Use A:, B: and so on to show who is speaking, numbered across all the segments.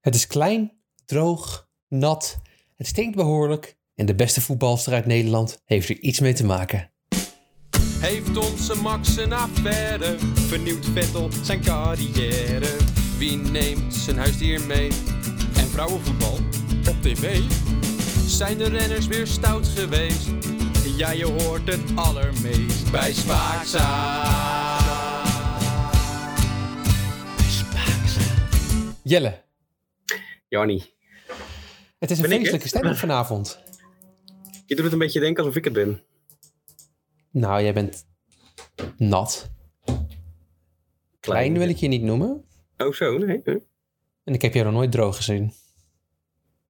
A: Het is klein, droog, nat, het stinkt behoorlijk en de beste voetbalster uit Nederland heeft er iets mee te maken.
B: Heeft onze Max een affaire? Vernieuwt Vettel zijn carrière? Wie neemt zijn huisdier mee? En vrouwenvoetbal op tv? Zijn de renners weer stout geweest? Ja, je hoort het allermeest bij Spaakzaam.
A: Jelle,
C: Jannie,
A: het is een
C: Ben ik
A: feestelijke
C: het?
A: stemming vanavond.
C: je doet het een beetje denken alsof ik het ben.
A: Nou, jij bent nat. Klein wil ik je niet noemen.
C: Oh zo, nee. hè?
A: En ik heb jou nog nooit droog gezien.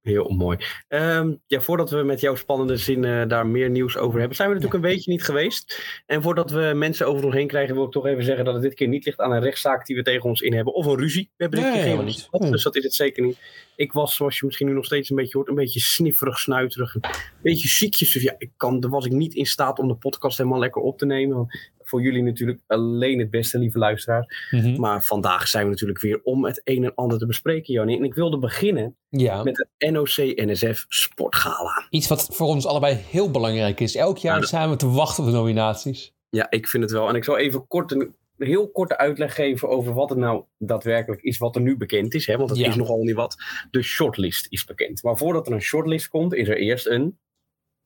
C: Heel mooi. Ehm, ja, voordat we met jouw spannende zinnen daar meer nieuws over hebben, zijn we natuurlijk een beetje niet geweest. En voordat we mensen over ons heen krijgen, wil ik toch even zeggen dat het dit keer niet ligt aan een rechtszaak die we tegen ons in hebben. Of een ruzie. We hebben dit
A: Nee,
C: keer geen
A: helemaal
C: ruzie
A: niet.
C: gehad,
A: Hm.
C: dus dat is het zeker niet. Ik was, zoals je misschien nu nog steeds een beetje hoort, een beetje snifferig, snuiterig. Een beetje ziekjes. Dus ja, ik kan, daar was ik niet in staat om de podcast helemaal lekker op te nemen. Want voor jullie natuurlijk alleen het beste, lieve luisteraar.
A: Mhm.
C: Maar vandaag zijn we natuurlijk weer om het een en ander te bespreken, Jannie. En ik wilde beginnen
A: Ja,
C: met de NOC-NSF Sportgala.
A: iets wat voor ons allebei heel belangrijk is. Elk jaar
C: Ja, dat-
A: samen te wachten op de nominaties.
C: Ja, ik vind het wel. En ik zal even kort een, een heel korte uitleg geven over wat het nou daadwerkelijk is wat er nu bekend is. Hè? Want dat
A: Ja.
C: is nogal niet wat. De shortlist is bekend. Maar voordat er een shortlist komt, is er eerst een,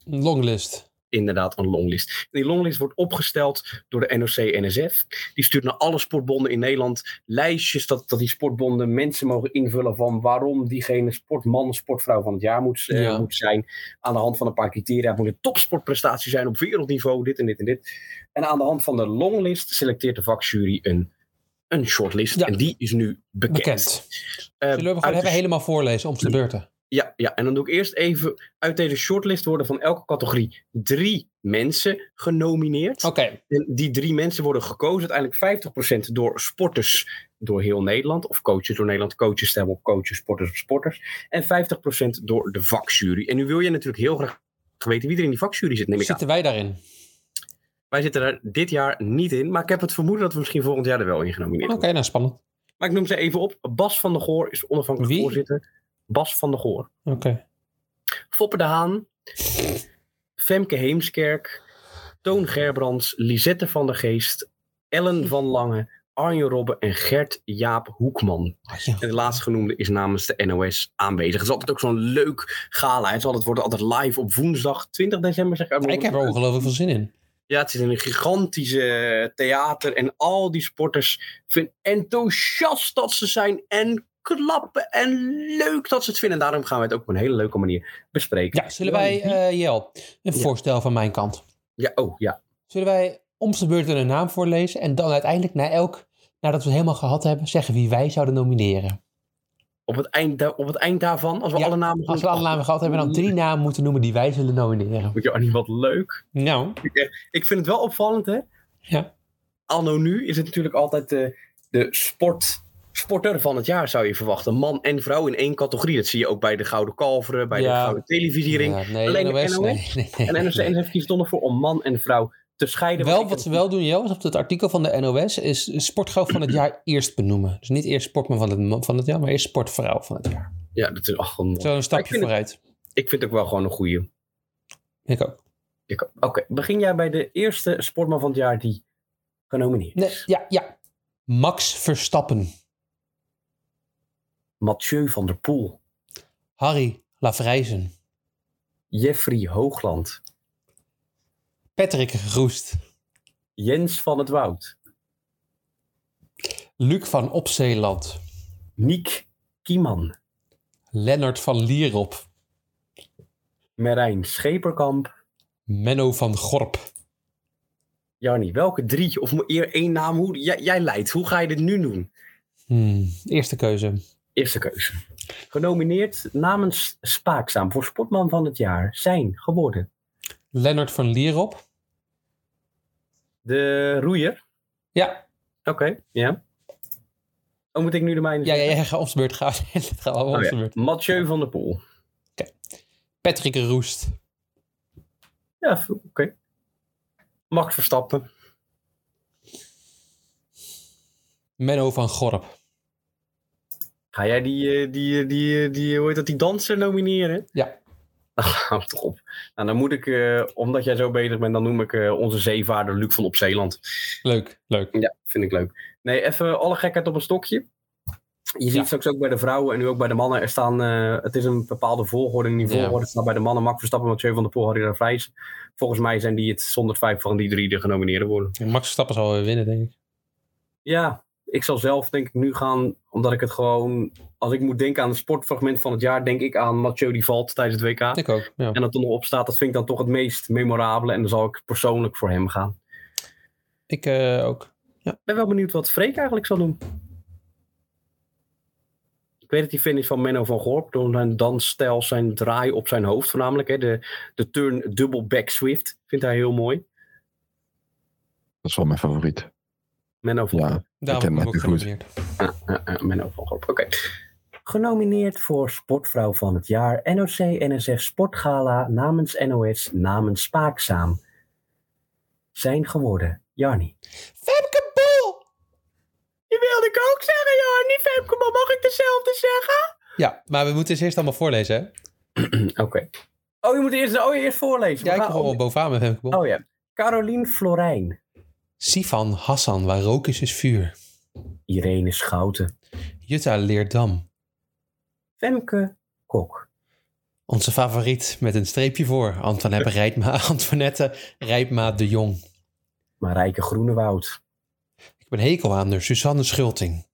A: Longlist.
C: inderdaad, een longlist. En die longlist wordt opgesteld door de NOC-NSF. Die stuurt naar alle sportbonden in Nederland lijstjes dat, dat die sportbonden mensen mogen invullen van waarom diegene sportman, sportvrouw van het jaar moet, eh,
A: Ja.
C: moet zijn. Aan de hand van een paar criteria. Het moet een topsportprestatie zijn op wereldniveau, dit en dit en dit. En aan de hand van de longlist selecteert de vakjury een, een shortlist.
A: Ja.
C: En die is nu bekend.
A: Bekend.
C: Eh,
A: Zullen we hem
C: uit
A: gewoon even
C: de-
A: helemaal voorlezen om de beurten?
C: ja, ja, en dan doe ik eerst even. Uit deze shortlist worden van elke categorie drie mensen genomineerd.
A: Oké,
C: En die drie mensen worden gekozen, uiteindelijk 50% door sporters door heel Nederland. Of coaches door Nederland. Coaches stemmen op coaches, sporters op sporters. En 50% door de vakjury. En nu wil je natuurlijk heel graag weten wie er in die vakjury zit, neem ik aan.
A: zitten wij daarin?
C: Wij zitten daar dit jaar niet in. Maar ik heb het vermoeden dat we misschien volgend jaar er wel in genomineerd
A: Oké,
C: worden.
A: nou spannend.
C: Maar ik noem ze even op. Bas van der Goor is onafhankelijk
A: Wie?
C: voorzitter. Bas van der Goor.
A: Oké.
C: Foppe de Haan. Femke Heemskerk. Toon Gerbrands. Lisette van der Geest. Ellen van Lange. Arjen Robben en Gert Jaap Hoekman.
A: Ah, ja.
C: En de laatstgenoemde is namens de NOS aanwezig. Het is altijd ook zo'n leuk gala. Het, is altijd, wordt altijd live op woensdag 20 december. Zeg ik, uit
A: Ja,
C: mijn
A: ik heb er
C: hoofd.
A: ongelooflijk veel zin in.
C: Ja, het is een gigantische eh, theater. En al die sporters vinden enthousiast dat ze zijn. En klappen. En leuk dat ze het vinden. En daarom gaan we het ook op een hele leuke manier bespreken.
A: Ja, zullen wij, eh Jel, een
C: Ja.
A: voorstel van mijn kant.
C: Ja, oh ja.
A: Zullen wij om de beurt een naam voorlezen en dan uiteindelijk na elk, nadat we het helemaal gehad hebben, zeggen wie wij zouden nomineren?
C: Op het eind, da- op het eind daarvan, als we
A: Ja,
C: alle namen
A: Als we alle namen gehad hebben, dan drie namen moeten noemen die wij zullen nomineren.
C: Moet je Arnie wat leuk.
A: Nou,
C: Ik vind het wel opvallend, hè?
A: Ja.
C: Anno nu is het natuurlijk altijd de, de sport, sporter van het jaar, zou je verwachten. Man en vrouw in één categorie. Dat zie je ook bij de Gouden Kalveren, bij
A: Ja.
C: de Gouden Televisiering.
A: ja, nee,
C: Alleen de
A: NOS,
C: NOS?
A: nee, nee, nee,
C: En NRC
A: nee.
C: NSF kiest dan ervoor om man en vrouw te scheiden.
A: Wel,
C: ik-
A: wat ze wel doen, Jel, is op het artikel van de NOS, is sportvrouw van het jaar eerst benoemen. Dus niet eerst sportman van het, van het jaar, maar eerst sportvrouw van het jaar.
C: Ja, dat is ach, een-
A: Zo een
C: Ik
A: stapje
C: vind het-
A: vooruit.
C: Ik vind het ook wel gewoon een goeie.
A: Ik ook.
C: Ik- Oké, begin jij bij de eerste sportman van het jaar die genomineerd is.
A: Nee, ja, ja. Max Verstappen.
C: Mathieu van der Poel.
A: Harry Lavrijzen.
C: Jeffrey Hoogland.
A: Patrick Roest.
C: Jens van het Woud.
A: Luc van Opzeeland.
C: Niek Kieman.
A: Lennart van Lierop.
C: Merijn Scheperkamp.
A: Menno van Gorp.
C: Jarni, welke drie? Of mo- eer één naam? Hoe, jij, jij leidt. Hoe ga je dit nu doen?
A: Hmm, eerste keuze.
C: Eerste keuze. Genomineerd namens Spaakzaam voor Sportman van het Jaar zijn geworden
A: Lennart van Lierop.
C: de roeier.
A: Ja,
C: Oké, ja. Oh, moet ik nu de mijne
A: ja, ja,
C: zeggen?
A: ja ga op de beurt gaan. Het gaat allemaal op
C: Oh, ja.
A: de beurt.
C: Mathieu van der Poel.
A: Patrick Roest.
C: Ja, v- oké. Max Verstappen.
A: Menno van Gorp.
C: Ga jij die, eh, die, eh, die, eh, die, hoe heet dat, die danser nomineren?
A: Ja.
C: Hou toch op. Nou, dan moet ik, eh, omdat jij zo bezig bent, dan noem ik eh, onze zeevaarder Luc van op Zeeland.
A: Leuk, leuk.
C: Ja, vind ik leuk. Nee, even alle gekheid op een stokje. Je ziet
A: Ja.
C: straks ook bij de vrouwen en nu ook bij de mannen. Er staan, eh, het is een bepaalde volgorde. En die
A: Ja.
C: volgorde staat bij de mannen Max Verstappen, Mathieu van der Poel, Harry Vrijs. Volgens mij zijn die het zonder twijfel van die drie de genomineerden worden.
A: Max Verstappen zal weer winnen, denk ik.
C: Ja, ik zal zelf denk ik nu gaan, omdat ik het gewoon... Als ik moet denken aan het sportfragment van het jaar, denk ik aan Mathieu die valt tijdens het WK.
A: Ik ook, ja.
C: En dat er nog op staat, dat vind ik dan toch het meest memorabele. En dan zal ik persoonlijk voor hem gaan.
A: Ik eh, ook.
C: Ik ben wel benieuwd wat Freek eigenlijk zal doen. Ik weet dat die finish van Menno van Gorp door zijn dansstijl, zijn draai op zijn hoofd voornamelijk. Hè, de, de turn double back swift vindt hij heel mooi.
D: Dat is wel mijn favoriet.
C: Menno van
D: Ja,
C: Gorp.
D: ken
A: Daarom heb
D: hem
A: ik ook
D: niet goed.
A: genomineerd.
C: Ja, ja, Menno van Gorp, oké. Genomineerd voor Sportvrouw van het jaar, NOC-NSF Sportgala namens NOS, namens Spaakzaam. Zijn geworden, Jarni.
A: Femke Bol!
C: Je wilde ik ook zeggen, Jarni. Femke, maar mag ik dezelfde zeggen?
A: Ja, maar we moeten ze eerst allemaal voorlezen, hè?
C: Oké. Oh, je moet eerst, oh, je eerst voorlezen.
A: Ja,
C: We
A: ik
C: gaan-
A: kom wel bovenaan met Femke Bol.
C: Oh ja. Caroline Florijn.
A: Sifan Hassan, waar rook is, is vuur.
C: Irene Schouten.
A: Jutta Leerdam,
C: Femke Kok.
A: onze favoriet met een streepje voor. Antoinette Rijpma, Antoinette Rijpma de Jong.
C: Marijke Groenewoud.
A: Ik ben hekel aan haar, Suzanne Schulting.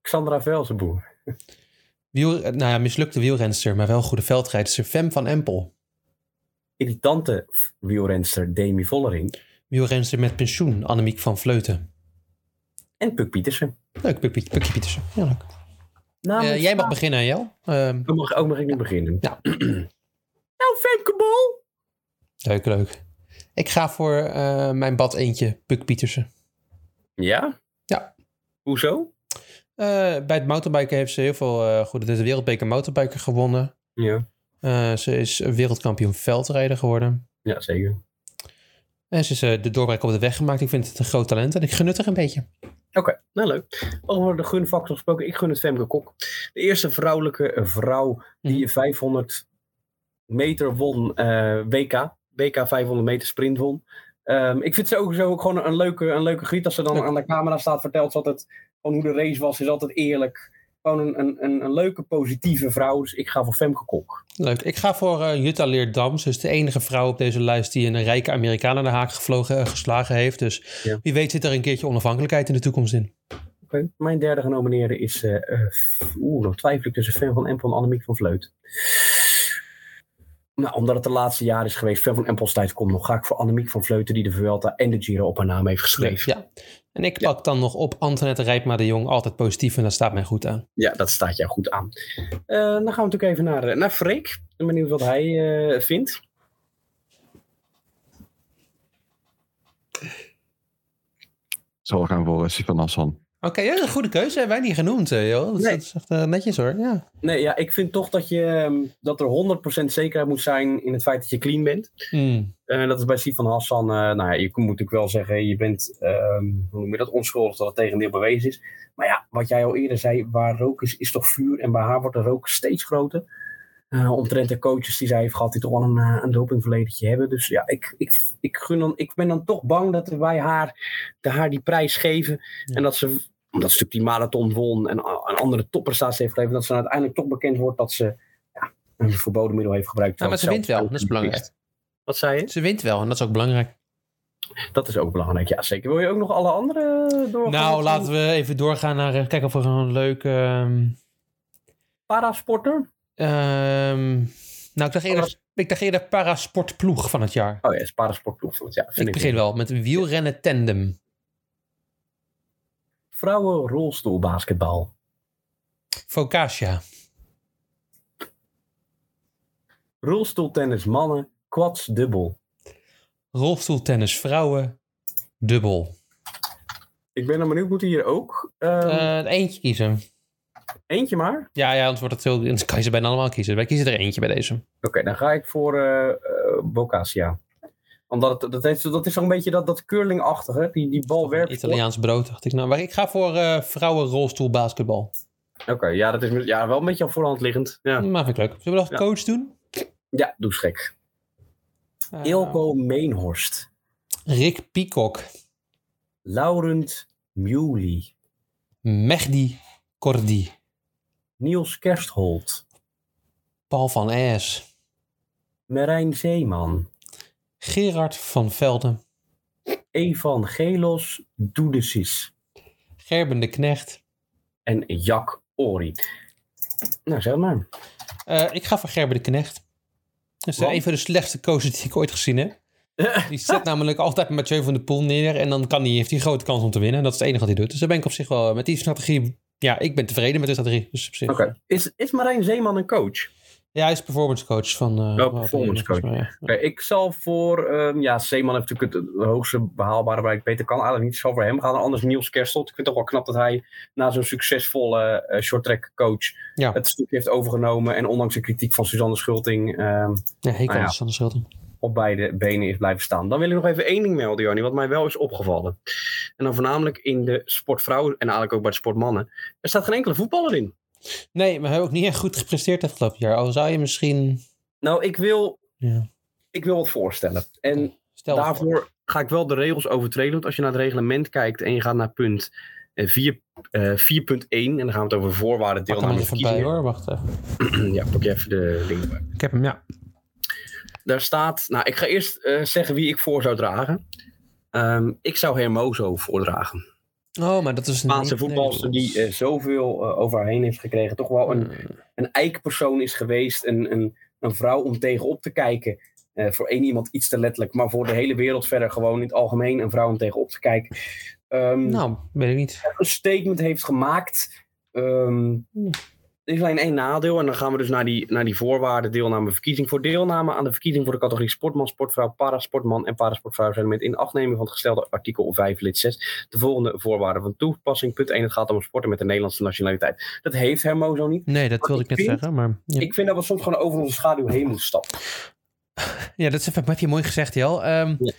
C: Xandra Velzenboer.
A: Wiel, eh, nou ja, mislukte wielrenster, maar wel goede veldrijdster. Fem van Empel.
C: Irritante f- wielrenster Demi Vollering.
A: Wielrenster met pensioen, Annemiek van Vleuten.
C: En Puk Pietersen.
A: Leuk, Puk- Puk- Pukje Pietersen. Ja, leuk.
C: Namens
A: Eh, jij mag beginnen, Jel. Ehm,
C: Dan Oh, mag, ook mag ik nu beginnen.
A: Ja.
C: nou, Femke Bol.
A: leuk, leuk. Ik ga voor eh, mijn bad eentje, Puk Pietersen.
C: Ja?
A: Ja.
C: Hoezo?
A: Eh, bij het mountainbiken heeft ze heel veel eh goede... De wereldbeker mountainbiker gewonnen.
C: Ja.
A: Eh, ze is wereldkampioen veldrijder geworden.
C: Ja, zeker.
A: En ze is eh, de doorbraak op de weg gemaakt. Ik vind het een groot talent en ik genut er een beetje.
C: Oké, nou leuk. Over de gunfactor gesproken, ik gun het Femke Kok. De eerste vrouwelijke eh, vrouw
A: Mhm.
C: die 500 meter won, eh, WK. WK 500 meter sprint won. Ehm, ik vind ze ook, zo ook gewoon een leuke, een leuke griet. Als ze dan
A: Leuk.
C: aan de camera staat, vertelt ze altijd gewoon hoe de race was. Ze is altijd eerlijk. Gewoon een, een, een, een leuke, positieve vrouw. Dus ik ga voor Femke Kok.
A: Leuk. Ik ga voor eh, Jutta Leerdam. Ze is de enige vrouw op deze lijst die een rijke Amerikaan aan de haak gevlogen, eh, geslagen heeft. Dus
C: Ja.
A: wie weet zit er een keertje onafhankelijkheid in de toekomst in.
C: Oké. Mijn derde genomineerde is... eh eh, Oeh, nog twijfel ik tussen Fan van Empel en Annemiek van Vleut. Nou, omdat het de laatste jaar is geweest, Fan van Empels tijd komt nog, ga ik voor Annemiek van Vleuten, die de Vuelta en de Giro op haar naam heeft geschreven.
A: Ja. En ik pak dan nog op Antoinette Rijpma de Jong. Altijd positief en dat staat mij goed aan.
C: Ja, dat staat jou goed aan. Eh, dan gaan we natuurlijk even naar, eh, naar Freek. Ik ben benieuwd wat hij eh, vindt.
D: Zal we gaan voor eh, Sifan Hassan.
A: Oké, ja, een goede keuze. Hebben wij niet genoemd, eh, joh. Dat, is-
C: Nee.
A: dat is echt eh, netjes hoor. Ja.
C: Nee, ja, ik vind toch dat, je, ehm, dat er 100% zekerheid moet zijn in het feit dat je clean bent.
A: Mm,
C: Eh, dat is bij Sifan Hassan, eh, nou ja, je moet natuurlijk wel zeggen, je bent, ehm, hoe noem je dat, onschuldig dat het tegendeel bewezen is. Maar ja, wat jij al eerder zei, waar rook is, is toch vuur. En bij haar wordt de rook steeds groter. Eh, omtrent de coaches die zij heeft gehad, die toch wel een, eh, een dopingverledentje hebben. Dus ja, ik, ik, ik, gun dan, ik ben dan toch bang dat wij haar, de haar die prijs geven.
A: Ja.
C: En dat ze, omdat ze natuurlijk die marathon won en a- een andere topprestatie heeft geleverd, dat ze dan uiteindelijk toch bekend wordt dat ze ja, een verboden middel heeft gebruikt.
A: Ja, maar ze
C: terwijl
A: wint
C: het
A: wel. Dat
C: zelf
A: is belangrijk.
C: Wat zei je?
A: Ze wint wel en dat is ook belangrijk.
C: Dat is ook belangrijk, ja zeker. Wil je ook nog alle andere doorgaan?
A: Nou, laten we even doorgaan naar eh, kijken of er een leuke. ehm,
C: Parasporter?
A: ehm, nou, ik dacht, eerder, ik dacht eerder parasportploeg van het jaar.
C: Oh ja, is parasportploeg van het jaar. Vind
A: Ik
C: ik
A: begin wel met wielrennen tandem.
C: Vrouwen rolstoelbasketbal.
A: Focaccia.
C: Rolstoeltennis mannen. Quads dubbel.
A: Rolstoeltennis vrouwen. Dubbel.
C: Ik ben dan benieuwd, moet hier ook ehm,
A: Eh, eentje kiezen.
C: eentje maar?
A: Ja, ja, anders wordt het heel. Anders kan je ze bijna allemaal kiezen. Wij kiezen er eentje bij deze.
C: Oké, dan ga ik voor eh eh, Bocasia. Omdat het, dat, heeft, dat is zo'n beetje dat, dat curlingachtige. Die, die bal werpt.
A: Italiaans brood, dacht ik. Nou, maar ik ga voor eh vrouwen rolstoelbasketbal.
C: Oké, ja, dat is met- ja, wel een beetje aan voorhand liggend. Ja,
A: Maar vind ik leuk. Zullen we nog
C: Ja.
A: coach doen?
C: ja doe gek.
A: Eh,
C: Ilko Meenhorst.
A: Rick Peacock.
C: Laurent Muley.
A: Mehdi Cordy.
C: Niels Kerstholt.
A: Paul van Es.
C: Merijn Zeeman.
A: Gerard van Velden.
C: Evangelos Doudesis.
A: Gerben de Knecht.
C: En Jack Ori. Nou, zeg het maar.
A: Eh, ik ga voor Gerben de Knecht. Dat is eh,
C: Want?
A: een van de slechtste coaches die ik ooit gezien heb. Die zet namelijk altijd Mathieu van der Poel neer. En dan kan die, heeft hij een grote kans om te winnen. Dat is het enige wat hij doet. Dus daar ben ik op zich wel eh, met die strategie. Ja, ik ben tevreden met de strategie. Dus op zich.
C: Oké. Is, is Marijn Zeeman een coach?
A: Ja, hij is performance coach van. eh,
C: Oh, performance
A: volgens mij, ja.
C: Oké, ik zal voor... ehm, ja, Zeeman heeft natuurlijk het, het hoogste behaalbare bereik. Beter kan eigenlijk niet. Ik zal voor hem gaan. Anders Niels Kerstelt. Ik vind het toch wel knap dat hij na zo'n succesvolle eh shorttrack coach...
A: Ja.
C: het stukje heeft overgenomen. En ondanks de kritiek van Suzanne Schulting... ehm,
A: Ja, hekel
C: Ah, ja.
A: aan Sander Schulten.
C: op beide benen is blijven staan. Dan wil ik nog even één ding melden, Joni, wat mij wel is opgevallen. En dan voornamelijk in de sportvrouwen en eigenlijk ook bij de sportmannen. Er staat geen enkele voetballer in.
A: Nee, maar hij heeft ook niet echt goed gepresteerd afgelopen jaar. Al zou je misschien.
C: Nou, ik wil,
A: Ja.
C: ik wil wat voorstellen. En
A: Stel
C: daarvoor ga ik wel de regels overtreden. Want als je naar het reglement kijkt en je gaat naar punt eh, vier- eh, 4.1... en dan gaan we het over voorwaarden
A: Pak hem er
C: deelname
A: even bij
C: verkiezingen.
A: hoor. Wacht even.
C: Ja, pak je even de ding erbij.
A: Ik heb hem, ja.
C: Daar staat... Nou, ik ga eerst eh, zeggen wie ik voor zou dragen. Ehm, ik zou Hermoso voordragen.
A: Oh, maar dat Oh, is een.
C: Spaanse voetbalster die eh, zoveel eh, over haar heen heeft gekregen. Toch wel een, een eikpersoon is geweest. Een, een, een vrouw om tegenop te kijken. Eh, voor één iemand iets te letterlijk. Maar voor de hele wereld verder gewoon in het algemeen een vrouw om tegenop te kijken. Ehm,
A: Nou, weet ik niet.
C: Een statement heeft gemaakt. Ehm, er is alleen één nadeel. En dan gaan we dus naar die, naar die voorwaarden. Deelname, verkiezing. Voor deelname aan de verkiezing voor de categorie sportman, sportvrouw, parasportman en parasportvrouw zijn met in acht nemen van het gestelde artikel 5 lid 6 de volgende voorwaarden van toepassing. Punt 1. Het gaat om sporten met de Nederlandse nationaliteit. Dat heeft Hermo zo niet.
A: Nee, dat wilde ik net
C: vind-
A: zeggen. Maar, ja.
C: Ik vind dat we soms gewoon over onze schaduw heen moeten stappen.
A: Ja, dat is even, heb je mooi gezegd, Jel. Ehm,
C: Ja.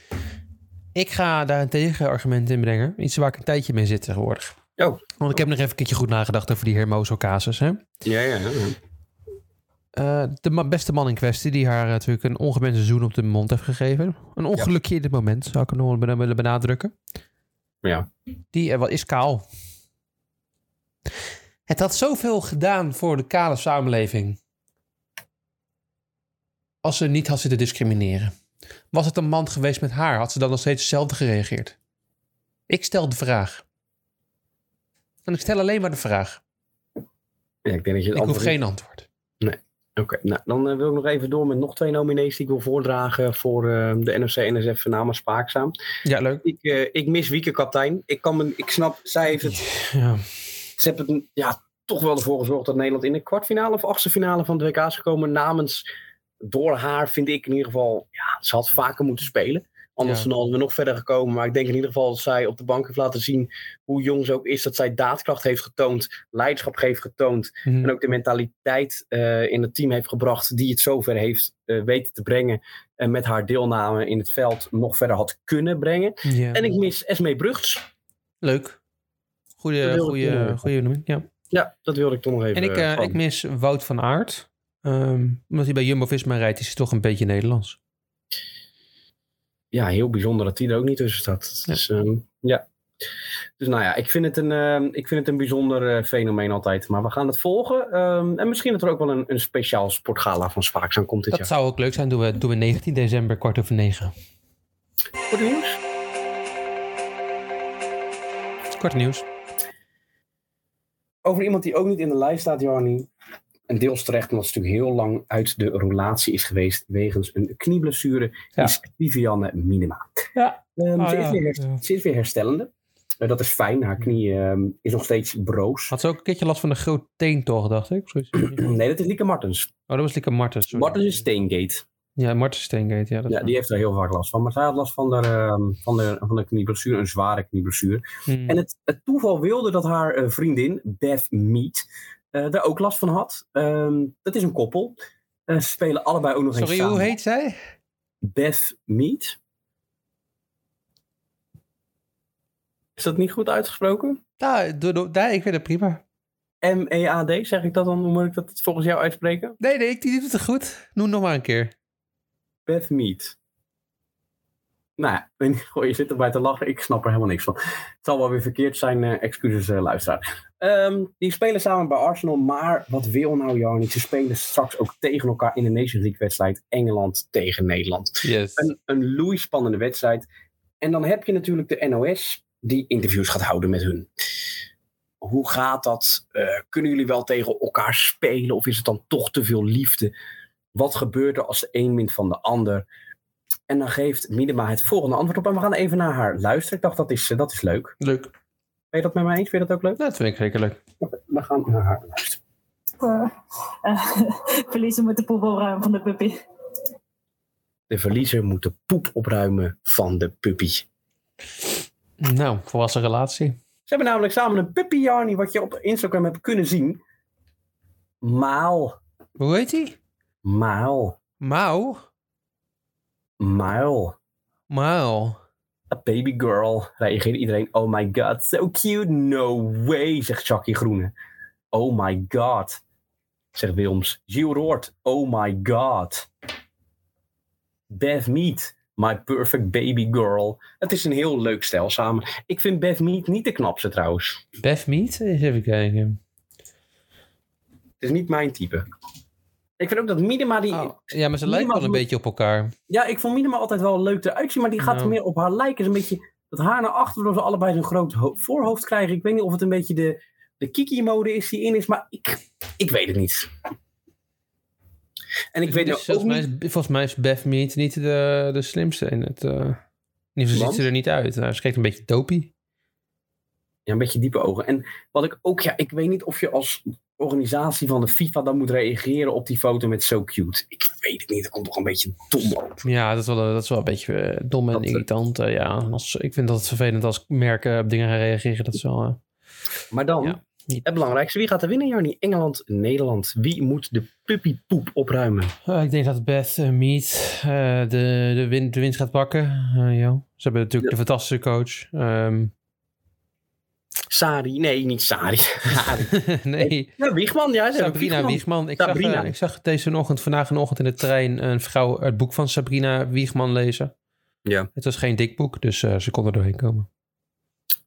A: Ik ga daar een tegenargument in brengen. Iets waar ik een tijdje mee zit tegenwoordig.
C: Oh.
A: Want ik heb nog even een keertje goed nagedacht over die Hermoso-casus. Hè?
C: Ja, ja.
A: Eh, de ma- beste man in kwestie, die haar eh, natuurlijk een ongewenste zoen op de mond heeft gegeven. Een ongelukje in dit moment, zou ik nog wel ben- willen benadrukken.
C: Ja.
A: Die eh, wat is kaal. Het had zoveel gedaan voor de kale samenleving. Als ze niet had zitten discrimineren. Was het een man geweest met haar, had ze dan nog steeds hetzelfde gereageerd? Ik stel de vraag. En ik stel alleen maar de vraag.
C: ik denk dat je het
A: Ik hoef
C: antwoord-
A: geen antwoord.
C: Oké, nou, dan eh, wil ik nog even door met nog twee nominees die ik wil voordragen voor eh, de NOC-NSF namens Spaakzaam.
A: Ja, leuk.
C: Ik, eh, ik mis Wieke Kaptein. Ik, kan me, ik snap, zij heeft het
A: Ja.
C: Ze hebben het, ja, toch wel ervoor gezorgd dat Nederland in de kwartfinale of achtste finale van de WK is gekomen. Namens door haar vind ik in ieder geval, ja, ze had vaker moeten spelen. Anders
A: Ja.
C: dan hadden we nog verder gekomen. Maar ik denk in ieder geval dat zij op de bank heeft laten zien hoe jong ze ook is. Dat zij daadkracht heeft getoond, leiderschap heeft getoond.
A: Mhm.
C: En ook de mentaliteit eh, in het team heeft gebracht die het zover heeft eh, weten te brengen. En met haar deelname in het veld nog verder had kunnen brengen.
A: Ja.
C: En ik mis Esmee Brugts.
A: Leuk.
C: Dat
A: Goede,
C: wilde ik
A: goede,
C: doen.
A: goede noeming. Ja.
C: Ja, dat wilde ik toch nog even.
A: En ik, eh,
C: eh,
A: ik mis Wout van Aert. Ehm, omdat hij bij Jumbo-Visma rijdt, is hij toch een beetje Nederlands.
C: ja, heel bijzonder dat die er ook niet tussen staat.
A: Ja.
C: Dus, ehm, ja. dus nou ja, ik vind het een, ehm, ik vind het een bijzonder eh, fenomeen altijd. Maar we gaan het volgen. ehm, en misschien dat er ook wel een, een speciaal sportgala van Spaaks aan komt dit
A: Dat
C: jaar.
A: zou ook leuk zijn. Doen we, doen we 19 december, kwart over negen.
C: Goed nieuws.
A: Kort nieuws.
C: Over iemand die ook niet in de lijst staat, Jarni. En deels terecht, omdat ze natuurlijk heel lang uit de relatie is geweest wegens een knieblessure,
A: Ja.
C: is Vivianne Minima.
A: Ja.
C: Ehm,
A: Oh
C: ze,
A: ja,
C: is weer her-
A: ja.
C: ze is weer herstellende. Eh, dat is fijn. Haar knie ehm, is nog steeds broos.
A: Had ze ook een keertje last van een groot teentocht, dacht ik. Zoiets. oh,
C: Nee, dat is Lieke Martens.
A: dat was Lieke Martens. sorry.
C: Martens is Steengate.
A: Ja, Martens Steengate. Ja, dat
C: Ja, die heeft er heel hard last van. Maar zij had last van de, ehm, van de, van de knieblessure, een zware knieblessure.
A: Hmm.
C: En het, het toeval wilde dat haar eh, vriendin, Bev Mead, eh, daar ook last van had. Ehm, dat is een koppel. Eh, ze spelen allebei ook nog eens
A: Sorry,
C: samen.
A: hoe heet zij?
C: Bev Mead. Is dat niet goed uitgesproken?
A: Ja, ik weet het prima.
C: M-E-A-D, zeg ik dat dan? Hoe moet ik dat volgens jou uitspreken?
A: Nee, nee, ik- die doet het goed. Noem nog maar een keer.
C: Beth Mead. Nou, en- goh, je zit erbij te lachen. Ik snap er helemaal niks van. Het zal wel weer verkeerd zijn. eh, excuses, eh, luisteraar. Ehm, die spelen samen bij Arsenal. Maar wat wil nou Jarnie? Ze spelen straks ook tegen elkaar in de Nations League wedstrijd. Engeland tegen Nederland.
A: Yes.
C: een, een loeispannende wedstrijd. En dan heb je natuurlijk de NOS die interviews gaat houden met hun. Hoe gaat dat? Eh, kunnen jullie wel tegen elkaar spelen? Of is het dan toch te veel liefde? Wat gebeurt er als de een wint van de ander? En dan geeft Minima het volgende antwoord op. En we gaan even naar haar luisteren. Ik dacht, dat is, eh, dat is leuk.
A: Leuk. Nou,
C: Ben je dat met mij eens? Vind je dat ook leuk?
A: dat vind ik zeker leuk.
C: Oké, We gaan naar haar luisteren.
E: Eh, eh, verliezen met de poepel ruim van de puppy.
C: De verliezer moet de poep opruimen van de puppy.
A: Nou, volwassen relatie.
C: Ze hebben namelijk samen een puppy Jarnie, wat je op Instagram hebt kunnen zien. Maal,
A: Hoe heet die?
C: maal,
A: Mau?
C: maal.
A: Mau.
C: A baby girl. Reageert iedereen. Oh my god, so cute. No way, zegt Jackie Groene. Oh my god, zegt Wilms. Gilles Roord. Oh my god. Beth Mead. My perfect baby girl. Het is een heel leuk stijl samen. Ik vind Beth Mead niet de knapste trouwens.
A: Beth Mead? Eens even kijken.
C: Het is niet mijn type. Ik vind ook dat Minima die...
A: Oh, Ja, maar ze
C: Niemand
A: lijken wel een
C: moet-
A: beetje op elkaar.
C: Ja, ik vond Minima altijd wel leuk eruit zien, maar die gaat
A: Ja.
C: meer op haar lijken. Is een beetje dat haar naar achter, waardoor ze allebei zo'n groot ho- voorhoofd krijgen. Ik weet niet of het een beetje de, de kiki-mode is die in is, maar ik, ik weet het niet. En ik weet
A: Dus
C: nou ook
A: volgens, mij
C: niet...
A: is, volgens mij is Beth Mead niet de, de slimste in het... eh, in ieder geval
C: Want?
A: ziet ze er niet uit. Nou, ze kijkt een beetje dopey.
C: Ja, een beetje diepe ogen. En wat ik ook, ja, ik weet niet of je als organisatie van de FIFA dan moet reageren op die foto met so cute. Ik weet het niet, dat komt toch een beetje dom op.
A: Ja, dat is wel, dat is wel een beetje eh, dom en
C: Dat, eh,
A: irritant. eh, ja, als, ik vind dat het vervelend als merken op dingen gaan reageren. Dat is wel... eh,
C: Maar dan,
A: Ja, niet-
C: het belangrijkste, wie gaat er winnen, Jarnie? Engeland, Nederland. Wie moet de puppypoep opruimen?
A: Eh, ik denk dat Beth eh, Mead eh, de, de, win, de winst gaat pakken. Eh, ja. Ze hebben natuurlijk de fantastische coach. Ehm,
C: Sari, nee, niet Sari. Sari.
A: nee,
C: Ja, Wiegman, ja. ze hebben
A: Sabrina Wiegman. Ik zag,
C: Sabrina.
A: eh, ik zag deze ochtend, vandaag vanochtend in de trein een vrouw het boek van Sabrina Wiegman lezen.
C: Ja.
A: Het was geen dik boek, dus eh, ze kon er doorheen komen.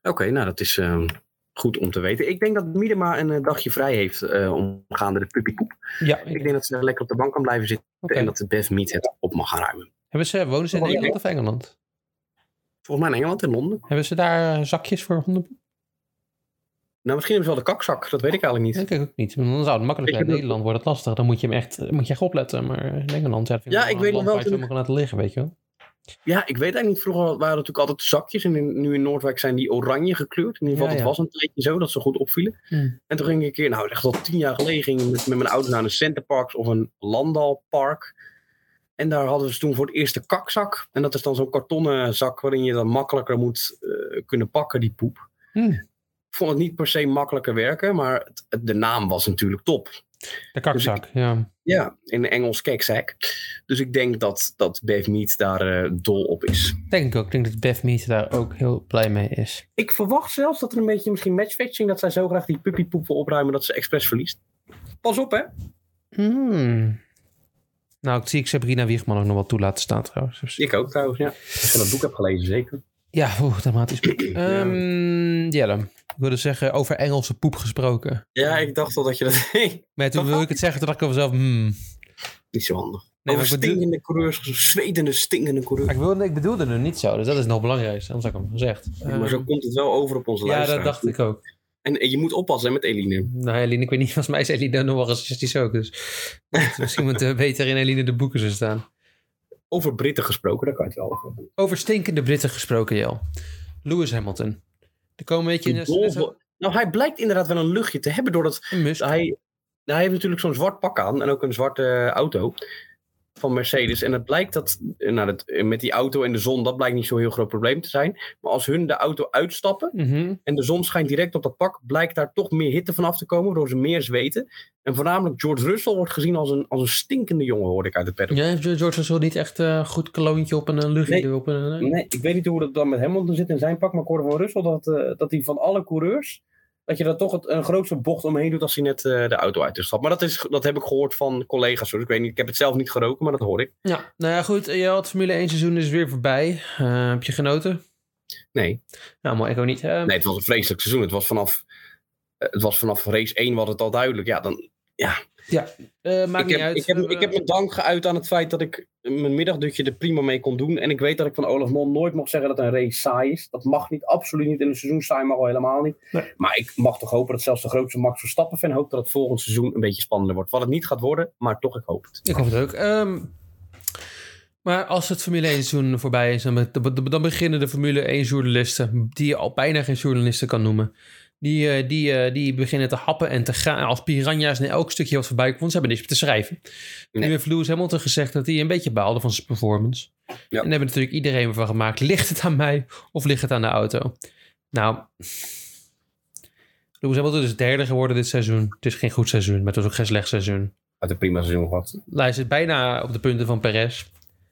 C: Oké, nou dat is ehm, goed om te weten. Ik denk dat Miedema een eh, dagje vrij heeft eh, omgaande de puppypoep.
A: Ja,
C: Ik denk dat ze lekker op de bank kan blijven zitten
A: oké.
C: en dat de Beth Mead het op mag gaan ruimen.
A: Hebben ze, wonen ze in
C: Oh, ja.
A: Nederland of Engeland?
C: Volgens mij in Engeland en Londen.
A: Hebben ze daar eh, zakjes voor hondenpoep?
C: Nou, misschien hebben ze wel de kakzak, dat weet ik eigenlijk niet.
A: Dat denk ik ook niet. want Dan zou het makkelijk
C: Ik
A: zijn. In
C: heb-
A: Nederland wordt het lastig. Dan moet je hem echt, eh, moet je echt opletten. Maar in Engeland, ja, dat vind
C: Ja,
A: wel
C: ik
A: een
C: weet
A: land
C: nog
A: waar je
C: wel toen
A: het helemaal kan laten liggen, weet je wel.
C: Ja, ik weet eigenlijk niet. Vroeger waren er natuurlijk altijd zakjes en in- nu in Noordwijk zijn die oranje gekleurd. In ieder geval,
A: Ja,
C: dat
A: ja.
C: was een tijdje zo dat ze goed opvielen.
A: Hmm.
C: En toen ging ik een keer, nou echt al tien jaar geleden, ging ik met, met mijn ouders naar een Centerparks of een Landalpark. En daar hadden ze toen voor het eerst de kakzak. En dat is dan zo'n kartonnen zak waarin je dan makkelijker moet eh, kunnen pakken, die poep.
A: Hmm.
C: Ik vond het niet per se makkelijker werken, maar het- het- de naam was natuurlijk top.
A: De kakzak, ja.
C: Ja, in Engels kekzak. Dus ik denk dat, dat Dave Mead daar eh, dol op is.
A: Denk ik ook. Ik denk dat Beth Mead daar ook heel blij mee is.
C: Ik verwacht zelfs dat er een beetje misschien matchfixing... dat zij zo graag die puppypoep wil opruimen dat ze expres verliest. Pas op, hè.
A: Hmm. Nou, ik zie ik Sabrina Wiegman ook nog wel toe laten staan trouwens. Dus-
C: Ik ook trouwens, ja. Als je dat boek hebt gelezen, zeker.
A: Ja, oeh, dramatisch. Ehm Jelle, ik wilde zeggen over Engelse poep gesproken.
C: Ja, ik dacht al dat je dat...
A: Maar toen wilde ik het zeggen, toen dacht ik over mezelf, hmm.
C: Niet zo handig.
A: Nee, maar
C: Over
A: ik, bedoel,
C: stinkende coureurs, zwetende, stinkende coureurs.
A: ik, wilde, ik bedoelde het niet zo, dus dat is nog belangrijk. Anders had ik hem gezegd.
C: maar zo
A: Ehm,
C: komt het wel over op onze
A: ja,
C: lijst.
A: dat dacht ik ook.
C: En eh, je moet oppassen hè, met Eline.
A: Nou, Eline, ik weet niet, volgens mij is Eline nog wel racistisch ook. Dus misschien moeten we eh, beter in Eline de boeken zo staan.
C: Over Britten gesproken, daar kan je het wel over hebben.
A: Over stinkende Britten gesproken, Jel. Lewis Hamilton. Er komen een beetje...
C: Die
A: net- net zo-
C: dol- Nou, hij blijkt inderdaad wel een luchtje te hebben... doordat
A: Een mus.
C: hij, nou, hij heeft natuurlijk zo'n zwart pak aan en ook een zwarte eh, auto van Mercedes. En het blijkt dat, eh, nou, dat eh, met die auto en de zon, dat blijkt niet zo'n heel groot probleem te zijn. Maar als hun de auto uitstappen
A: Mhm.
C: en de zon schijnt direct op dat pak, blijkt daar toch meer hitte vanaf te komen, waardoor ze meer zweten. En voornamelijk George Russell wordt gezien als een, als een stinkende jongen, hoorde ik uit het paddock.
A: Ja, heeft George Russell niet echt een goed kloontje op en een luchtje
C: Nee.
A: op een...
C: eh, Nee, ik weet niet hoe dat dan met Hamilton zit in zijn pak, maar ik hoorde van Russell dat, eh, dat hij van alle coureurs dat je daar toch het, een grootste bocht omheen doet als hij net eh, de auto uit is gestapt. Maar dat, is, dat heb ik gehoord van collega's. hoor. Dus ik weet niet, ik heb het zelf niet geroken, maar dat hoor ik.
A: Ja, nou ja, goed. Je had Formule 1 seizoen is weer voorbij. Eh, heb je genoten?
C: Nee.
A: Nou, maar ik ook niet. Eh,
C: nee, het was een vreselijk seizoen. Het was vanaf, eh, het was vanaf race 1 was het al duidelijk. Ja, dan,
A: eh, maakt
C: ik,
A: niet
C: heb,
A: uit.
C: Ik, heb,
A: We-
C: ik heb mijn dank geuit aan het feit dat ik mijn middagdutje er prima mee kon doen. En ik weet dat ik van Olaf Mol nooit mag zeggen dat een race saai is. Dat mag niet, absoluut niet. En een seizoen saai mag al helemaal niet.
A: Nee.
C: Maar ik mag toch hopen dat zelfs de grootste Max Verstappen fan hoopt dat het volgend seizoen een beetje spannender wordt. Wat het niet gaat worden, maar toch ik hoop het.
A: Ik hoop het ook. Ehm, maar als het Formule 1 seizoen voorbij is, dan, be- dan beginnen de Formule 1 journalisten, die je al bijna geen journalisten kan noemen, die, eh, die, eh, die beginnen te happen en te gaan als piranha's naar elk stukje wat voorbij komt. Ze hebben niks meer te schrijven.
C: Nee.
A: Nu heeft Lewis Hamilton gezegd dat hij een beetje baalde van zijn performance. En daar hebben natuurlijk iedereen van gemaakt. Ligt het aan mij of ligt het aan de auto? Nou, Lewis Hamilton is derde geworden dit seizoen. Het is geen goed seizoen, maar het was ook geen slecht seizoen.
C: Uit een prima seizoen gehad.
A: Hij zit bijna op de punten van Perez.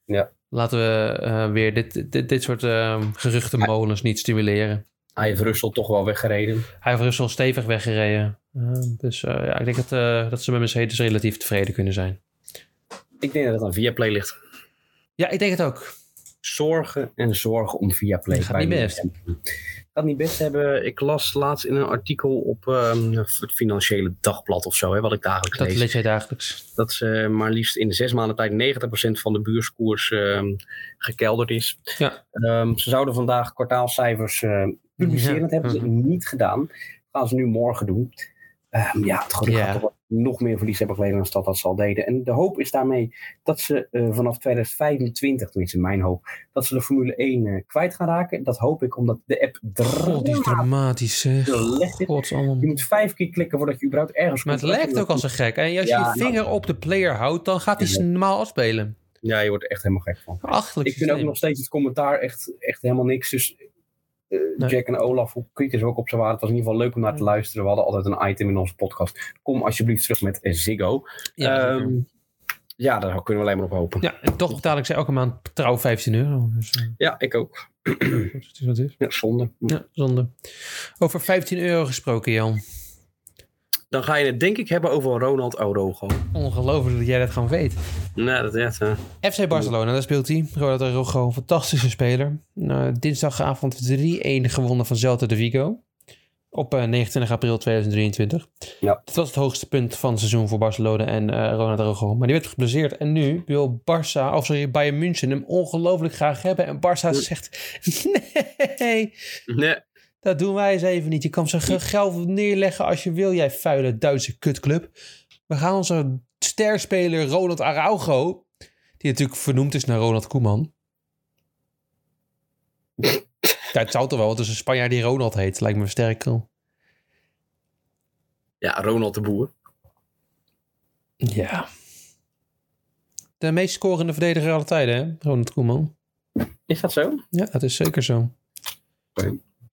C: Ja.
A: Laten we eh, weer dit, dit, dit soort eh, geruchtenmolens niet stimuleren.
C: Hij heeft Russell toch wel weggereden.
A: Hij heeft Russell stevig weggereden. Eh, dus eh, ja, ik denk dat, eh, dat ze met Mercedes relatief tevreden kunnen zijn.
C: Ik denk dat het aan Viaplay ligt.
A: Ja, ik denk het ook.
C: Zorgen en zorgen om Viaplay.
A: Gaat
C: bij
A: niet
C: de
A: best.
C: mensen. Gaat niet best hebben. Ik las laatst in een artikel op ehm, het Financiële Dagblad of zo, hè, wat ik dagelijks
A: Dat
C: lees.
A: lees jij dagelijks.
C: dat ze maar liefst in de zes maanden tijd 90% van de buurskoers ehm, gekelderd is.
A: Ja.
C: Ehm, ze zouden vandaag kwartaalcijfers eh, publiceren.
A: Ja. Mhm.
C: Dat hebben ze niet gedaan. Dat gaan ze nu morgen doen. Ehm, ja, het Groningen
A: Ja.
C: gaat toch wel nog meer verlies hebben geleden dan dat dat ze al deden. En de hoop is daarmee dat ze eh, vanaf 2025, tenminste mijn hoop, dat ze de Formule 1 eh, kwijt gaan raken. Dat hoop ik omdat de app
A: God, Oh, die is dramatisch. zeg.
C: dramatisch is.
A: God, allemaal.
C: Je moet vijf keer klikken voordat je überhaupt ergens
A: Maar het
C: komt.
A: lekt ook als een gek. En als je
C: Ja, nou.
A: je vinger op de player houdt, dan gaat hij ze normaal afspelen.
C: Ja, je wordt er echt helemaal gek van.
A: Achterlijk
C: Ik vind ook
A: systeem.
C: nog steeds het commentaar echt, echt helemaal niks. Dus eh,
A: Nee.
C: Jack en Olaf, hoe kritisch we ook op ze waren, het was in ieder geval leuk om naar te luisteren. We hadden altijd een item in onze podcast. Kom alsjeblieft terug met eh, Ziggo.
A: Ja,
C: Ehm,
A: zeker.
C: ja, daar kunnen we alleen maar op hopen. Ja,
A: ja, en toch betaal ik ze elke maand trouw 15 euro. Dus, eh,
C: ik ook.
A: goed, het is wat het is.
C: Ja, zonde.
A: Ja, zonde. Over 15 euro gesproken, Jan.
C: Dan ga je het denk ik hebben over Ronald Orogo.
A: Ongelooflijk dat jij dat gewoon weet.
C: Nou, dat is echt. hè.
A: FC Barcelona, daar speelt hij. Ronald Araujo, een fantastische speler. Eh, dinsdagavond 3-1 gewonnen van Celta de Vigo. Op eh, 29 april 2023.
C: Ja.
A: Dat was het hoogste punt van het seizoen voor Barcelona en eh Ronald Araujo. Maar die werd geblesseerd. En nu wil Barça, of sorry, Bayern München hem ongelooflijk graag hebben. En Barça zegt, nee,
C: Nee.
A: Dat doen wij eens even niet. Je kan zo ge- geld neerleggen als je wil, jij vuile Duitse kutclub. We gaan onze sterspeler Ronald Araujo, die natuurlijk vernoemd is naar Ronald Koeman. Ja, het zou toch wel, want het is een Spanjaard die Ronald heet. Lijkt me sterk. wel.
C: Ja, Ronald de Boer.
A: Ja. De meest scorende verdediger aller tijden, hè? Ronald Koeman.
C: Is dat zo?
A: Ja, dat is zeker zo.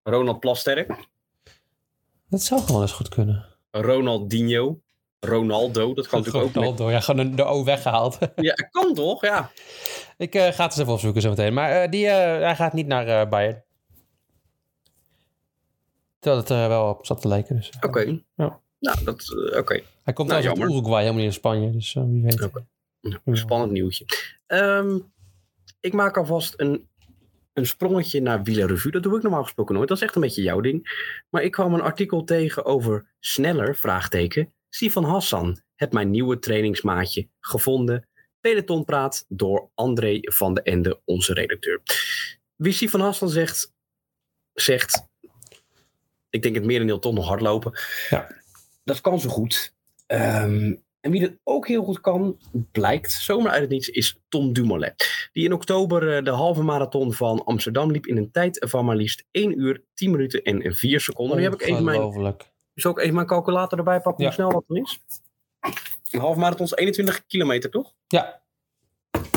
C: Ronald Plasterk.
A: Dat zou gewoon eens goed kunnen.
C: Ronaldinho. Ronaldo, dat kan natuurlijk ook.
A: Ronaldo, ja, gewoon de- de O weggehaald.
C: met- Ja, kan toch? Ja.
A: Ik eh, ga het eens even opzoeken zo meteen. Maar eh, die, eh, hij gaat niet naar eh, Bayern. Terwijl het er wel op zat te lijken. Dus.
C: Oké.
A: Ja.
C: Nou, dat. eh, Oké.
A: Hij komt
C: Nou,
A: uit
C: jammer. Oh,
A: Uruguay, helemaal niet in Spanje. Dus eh, wie weet.
C: Oké. Spannend nieuwtje. Ehm, ik maak alvast een, een sprongetje naar Wielerrevue. Dat doe ik normaal gesproken nooit. Dat is echt een beetje jouw ding. Maar ik kwam een artikel tegen over sneller, vraagteken. Stefan Hassan, heb mijn nieuwe trainingsmaatje gevonden. Peloton praat door André van de Ende, onze redacteur. Wie Stefan Hassan zegt, zegt... Ik denk het merendeel toch nog hardlopen.
A: Ja.
C: Dat kan zo goed. Ehm, en wie dat ook heel goed kan, blijkt zomaar uit het niets, is Tom Dumoulin. Die in oktober eh, de halve marathon van Amsterdam liep in een tijd van maar liefst 1 uur, 10 minuten en 4 seconden. Nu heb ik even mijn,
A: Ongelooflijk.
C: zal ik even mijn calculator erbij
A: Ja.
C: pakken hoe snel dat dan is? Een halve marathon is 21 kilometer, toch?
A: Ja.
C: Dat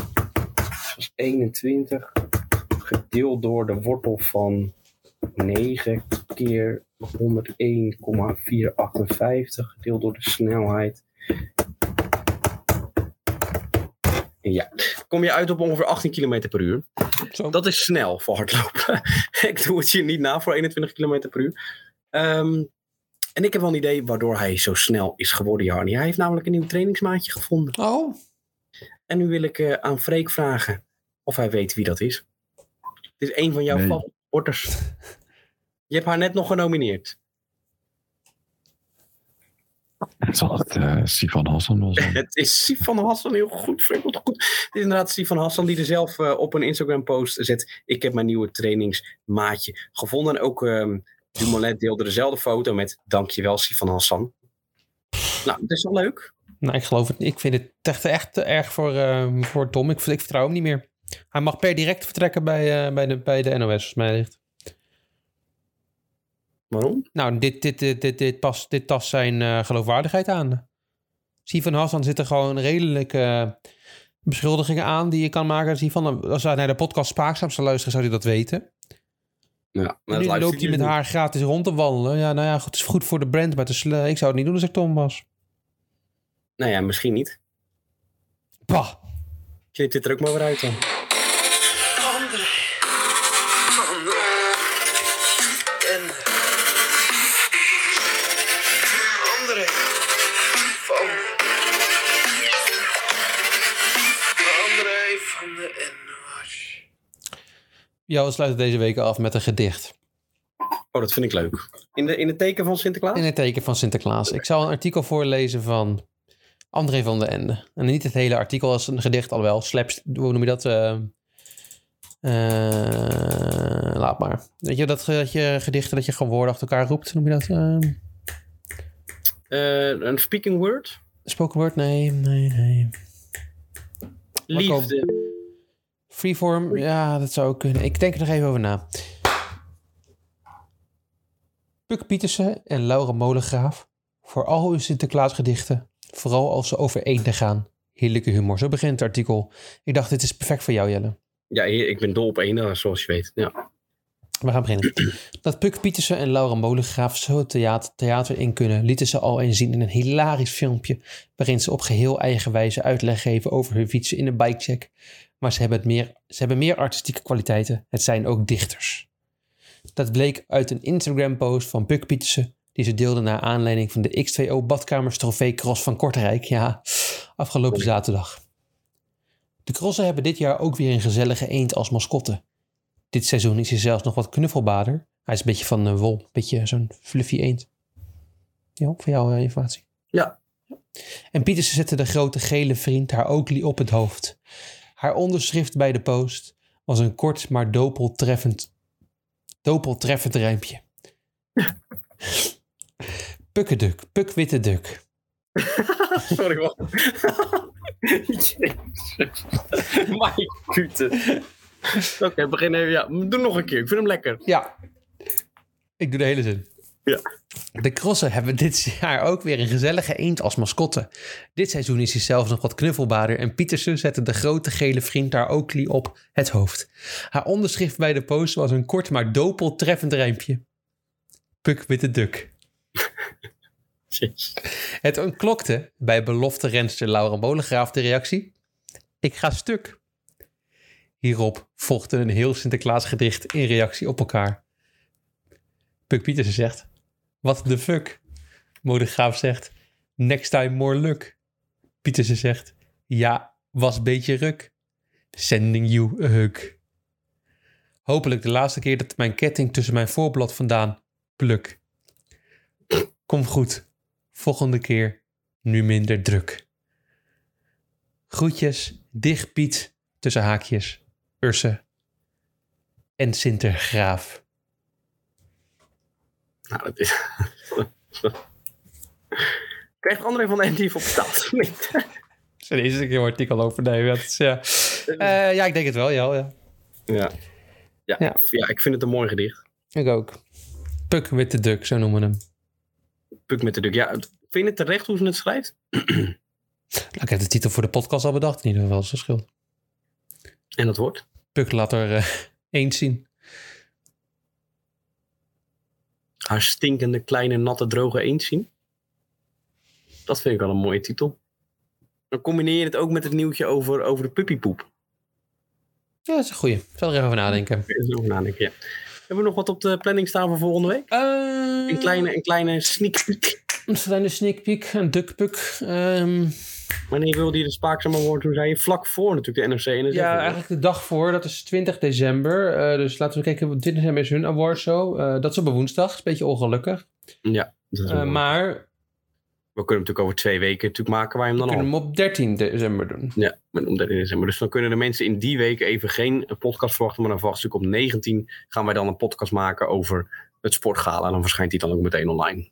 C: is 21 gedeeld door de wortel van 9 keer 101,458 gedeeld door de snelheid. Ja, kom je uit op ongeveer 18 km per uur.
A: Zo.
C: Dat is snel voor hardlopen. ik doe het hier niet na voor 21 km per uur. Ehm, En ik heb wel een idee waardoor hij zo snel is geworden, Jarni. Hij heeft namelijk een nieuw trainingsmaatje gevonden.
A: Oh,
C: En nu wil ik eh, aan Freek vragen of hij weet wie dat is. Het is een van jouw
D: Nee.
C: favoriete sporters. Je hebt haar net nog genomineerd.
D: Het zal het eh Sivan Hassan wel zijn.
C: Het is Sifan Hassan, heel goed. Freek, wat goed. Het is inderdaad Sifan Hassan die er zelf eh, op een Instagram-post zet. Ik heb mijn nieuwe trainingsmaatje gevonden. En ook ehm Dumoulin deelde dezelfde foto met dankjewel Sifan Hassan. Nou, dat is wel leuk.
A: nou, ik geloof het niet. Ik vind het echt, echt te erg voor, eh, voor Tom. Ik, ik vertrouw hem niet meer. Hij mag per direct vertrekken bij, eh, bij, de, bij de NOS, volgens mij ligt.
C: Waarom?
A: Nou, dit, dit, dit, dit, dit, past, dit tast zijn eh, geloofwaardigheid aan. Sivan Hassan zit er gewoon redelijke eh, beschuldigingen aan die je kan maken. Sivan, als hij naar de podcast Spaakzaam zou luisteren, zou hij dat weten.
C: Ja,
A: En nu loopt hij met haar gratis rond te wandelen. Ja, nou ja, goed, het is goed voor de brand, maar het is, eh, ik zou het niet doen als ik Tom was.
C: Nou ja, misschien niet.
A: Bah.
C: Knip dit er ook maar weer uit dan.
F: En andere van André van de NOS.
A: Ja, we sluiten deze week af met een gedicht.
C: Oh, dat vind ik leuk. In, de, in het teken van Sinterklaas?
A: In het teken van Sinterklaas. Ik zal een artikel voorlezen van André van der Ende. En niet het hele artikel als een gedicht, alhoewel. Slaps, hoe noem je dat? Eh, eh, laat maar. Weet je, dat, ge- dat je gedichten dat je gewoon woorden achter elkaar roept, noem je dat? eh,
C: Eh, een speaking word?
A: spoken word? Nee, nee, nee.
C: Liefde.
A: Freeform, ja, dat zou ook kunnen. Ik denk er nog even over na. Puk Pietersen en Laura Molengraaf voor al hun Sinterklaasgedichten, vooral als ze over eenden gaan. Heerlijke humor, zo begint het artikel. Ik dacht, dit is perfect voor jou, Jelle.
C: Ja, hier, ik ben dol op één, zoals je weet. Ja.
A: We gaan beginnen. Dat Puk Pietersen en Laura Molengraaf zo het theater, theater in kunnen, lieten ze al eens zien in een hilarisch filmpje. waarin ze op geheel eigen wijze uitleg geven over hun fietsen in een bikecheck. Maar ze hebben, het meer, ze hebben meer artistieke kwaliteiten. Het zijn ook dichters. Dat bleek uit een Instagram-post van Puk Pietersen. die ze deelde naar aanleiding van de X2O Badkamers Trofee Cross van Kortrijk. Ja, afgelopen zaterdag. De crossen hebben dit jaar ook weer een gezellige eend als mascotte. Dit seizoen is hij zelfs nog wat knuffelbaarder. Hij is een beetje van eh, wol, een beetje zo'n fluffy eend. Ja, voor jouw eh, informatie.
C: Ja.
A: En Pietersen zette de grote gele vriend haar ooglie op het hoofd. Haar onderschrift bij de post was een kort maar dopeltreffend, dopeltreffend rijmpje. Pukkeduk, pukwitte duk.
C: Sorry, man. Mijn kute. Oké, begin even. Ja, doe nog een keer. Ik vind hem lekker.
A: Ja. Ik doe de hele zin.
C: Ja.
A: De crossen hebben dit jaar ook weer een gezellige eend als mascotte. Dit seizoen is hij zelfs nog wat knuffelbaarder en Pietersen zette de grote gele vriend daar Oakley op het hoofd. Haar onderschrift bij de post was een kort maar dopeltreffend rijmpje. Puk witte duk.
C: Jezus.
A: Het ontklokte bij belofte renster Laura Molengraaf de reactie. Ik ga stuk. Hierop volgde een heel Sinterklaasgedicht in reactie op elkaar. Puk Pietersen zegt, what the fuck? Molengraaf zegt, next time more luck. Pietersen zegt, ja, was beetje ruk. Sending you a hug. Hopelijk de laatste keer dat mijn ketting tussen mijn voorblad vandaan pluk. Kom goed, Volgende keer nu minder druk. Groetjes, dicht Piet, tussen haakjes, Urse en Sintergraaf.
C: Nou, dat is... Krijgt André van de Andy voor betaald? Nee.
A: Er is een heel artikel over. Nee, dat is, ja. Eh, ja, ik denk het wel. Ja, ja.
C: ja. Ja,
A: Ja.
C: ja, ik vind het een mooi gedicht.
A: Ik ook. Puk met de duk, zo noemen we hem.
C: Puk met de duk. Ja, vind je het terecht hoe ze het schrijft?
A: Nou, ik heb de titel voor de podcast al bedacht. In ieder geval, dat scheelt.
C: En dat wordt?
A: Puk laat er eh, eens zien.
C: Haar stinkende, kleine, natte, droge eend zien. Dat vind ik wel een mooie titel. Dan combineer je het ook met het nieuwtje over, over de puppypoep.
A: Ja, dat is een goeie. Ik zal er even over nadenken.
C: Even over nadenken, ja. Hebben we nog wat op de planning staan voor volgende week?
A: Eh,
C: Een kleine, een kleine sneak peek.
A: Een kleine sneak peek, een duckpuk. Ehm
C: Wanneer wilde je de spaakzamer worden? Toen zei je vlak voor natuurlijk de NRC. En
A: ja, eigenlijk de dag voor, dat is 20 december. Eh, dus laten we kijken, op 20 december is hun award show. Eh, dat is op een woensdag, is een beetje ongelukkig.
C: Dat is
A: Eh,
C: wel-
A: maar
C: We kunnen hem natuurlijk over twee weken natuurlijk maken waar je hem
A: we
C: dan al...
A: kunnen hem op 13 december doen.
C: Ja, met om 13 december. Dus dan kunnen de mensen in die week even geen eh, podcast verwachten. Maar dan vast natuurlijk op 19 gaan wij dan een podcast maken over het sportgala. En dan verschijnt die dan ook meteen online.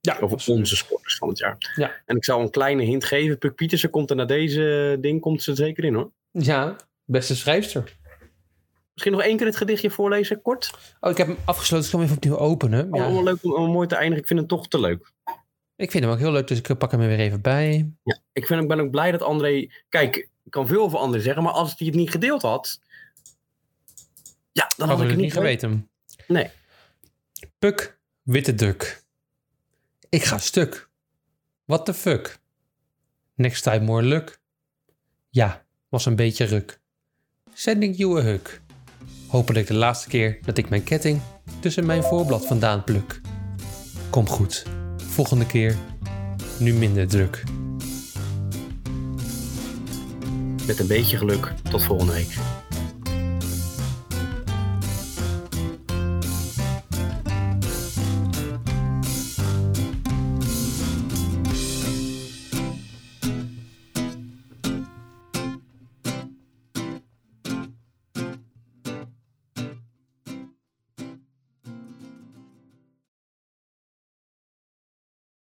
A: Ja,
C: Over
A: absoluut.
C: onze sporters van het jaar.
A: Ja.
C: En ik zou een kleine hint geven. Puk Pietersen komt er na deze eh, ding komt ze er zeker in hoor.
A: Ja, beste schrijfster.
C: Misschien nog één keer het gedichtje voorlezen, kort.
A: Oh, ik heb hem afgesloten, dus ik ga hem even opnieuw openen.
C: Allemaal
A: Ja.
C: leuk om, om mooi te eindigen. Ik vind het toch te leuk.
A: Ik vind hem ook heel leuk, dus ik pak hem er weer even bij.
C: ik vind, ik ben ook blij dat André. Kijk, ik kan veel over André zeggen, maar als hij het niet gedeeld had. Ja, dan had
A: Hadden
C: ik
A: we
C: het
A: het
C: niet
A: niet geweten.
C: Nee.
A: Puk, witte duk. Ik ga stuk. What the fuck? Next time more luck. Ja, was een beetje ruk. Sending you a hug. Hopelijk de laatste keer dat ik mijn ketting tussen mijn voorblad vandaan pluk. Kom goed. Volgende keer. Nu minder druk.
C: Met een beetje geluk. Tot volgende week.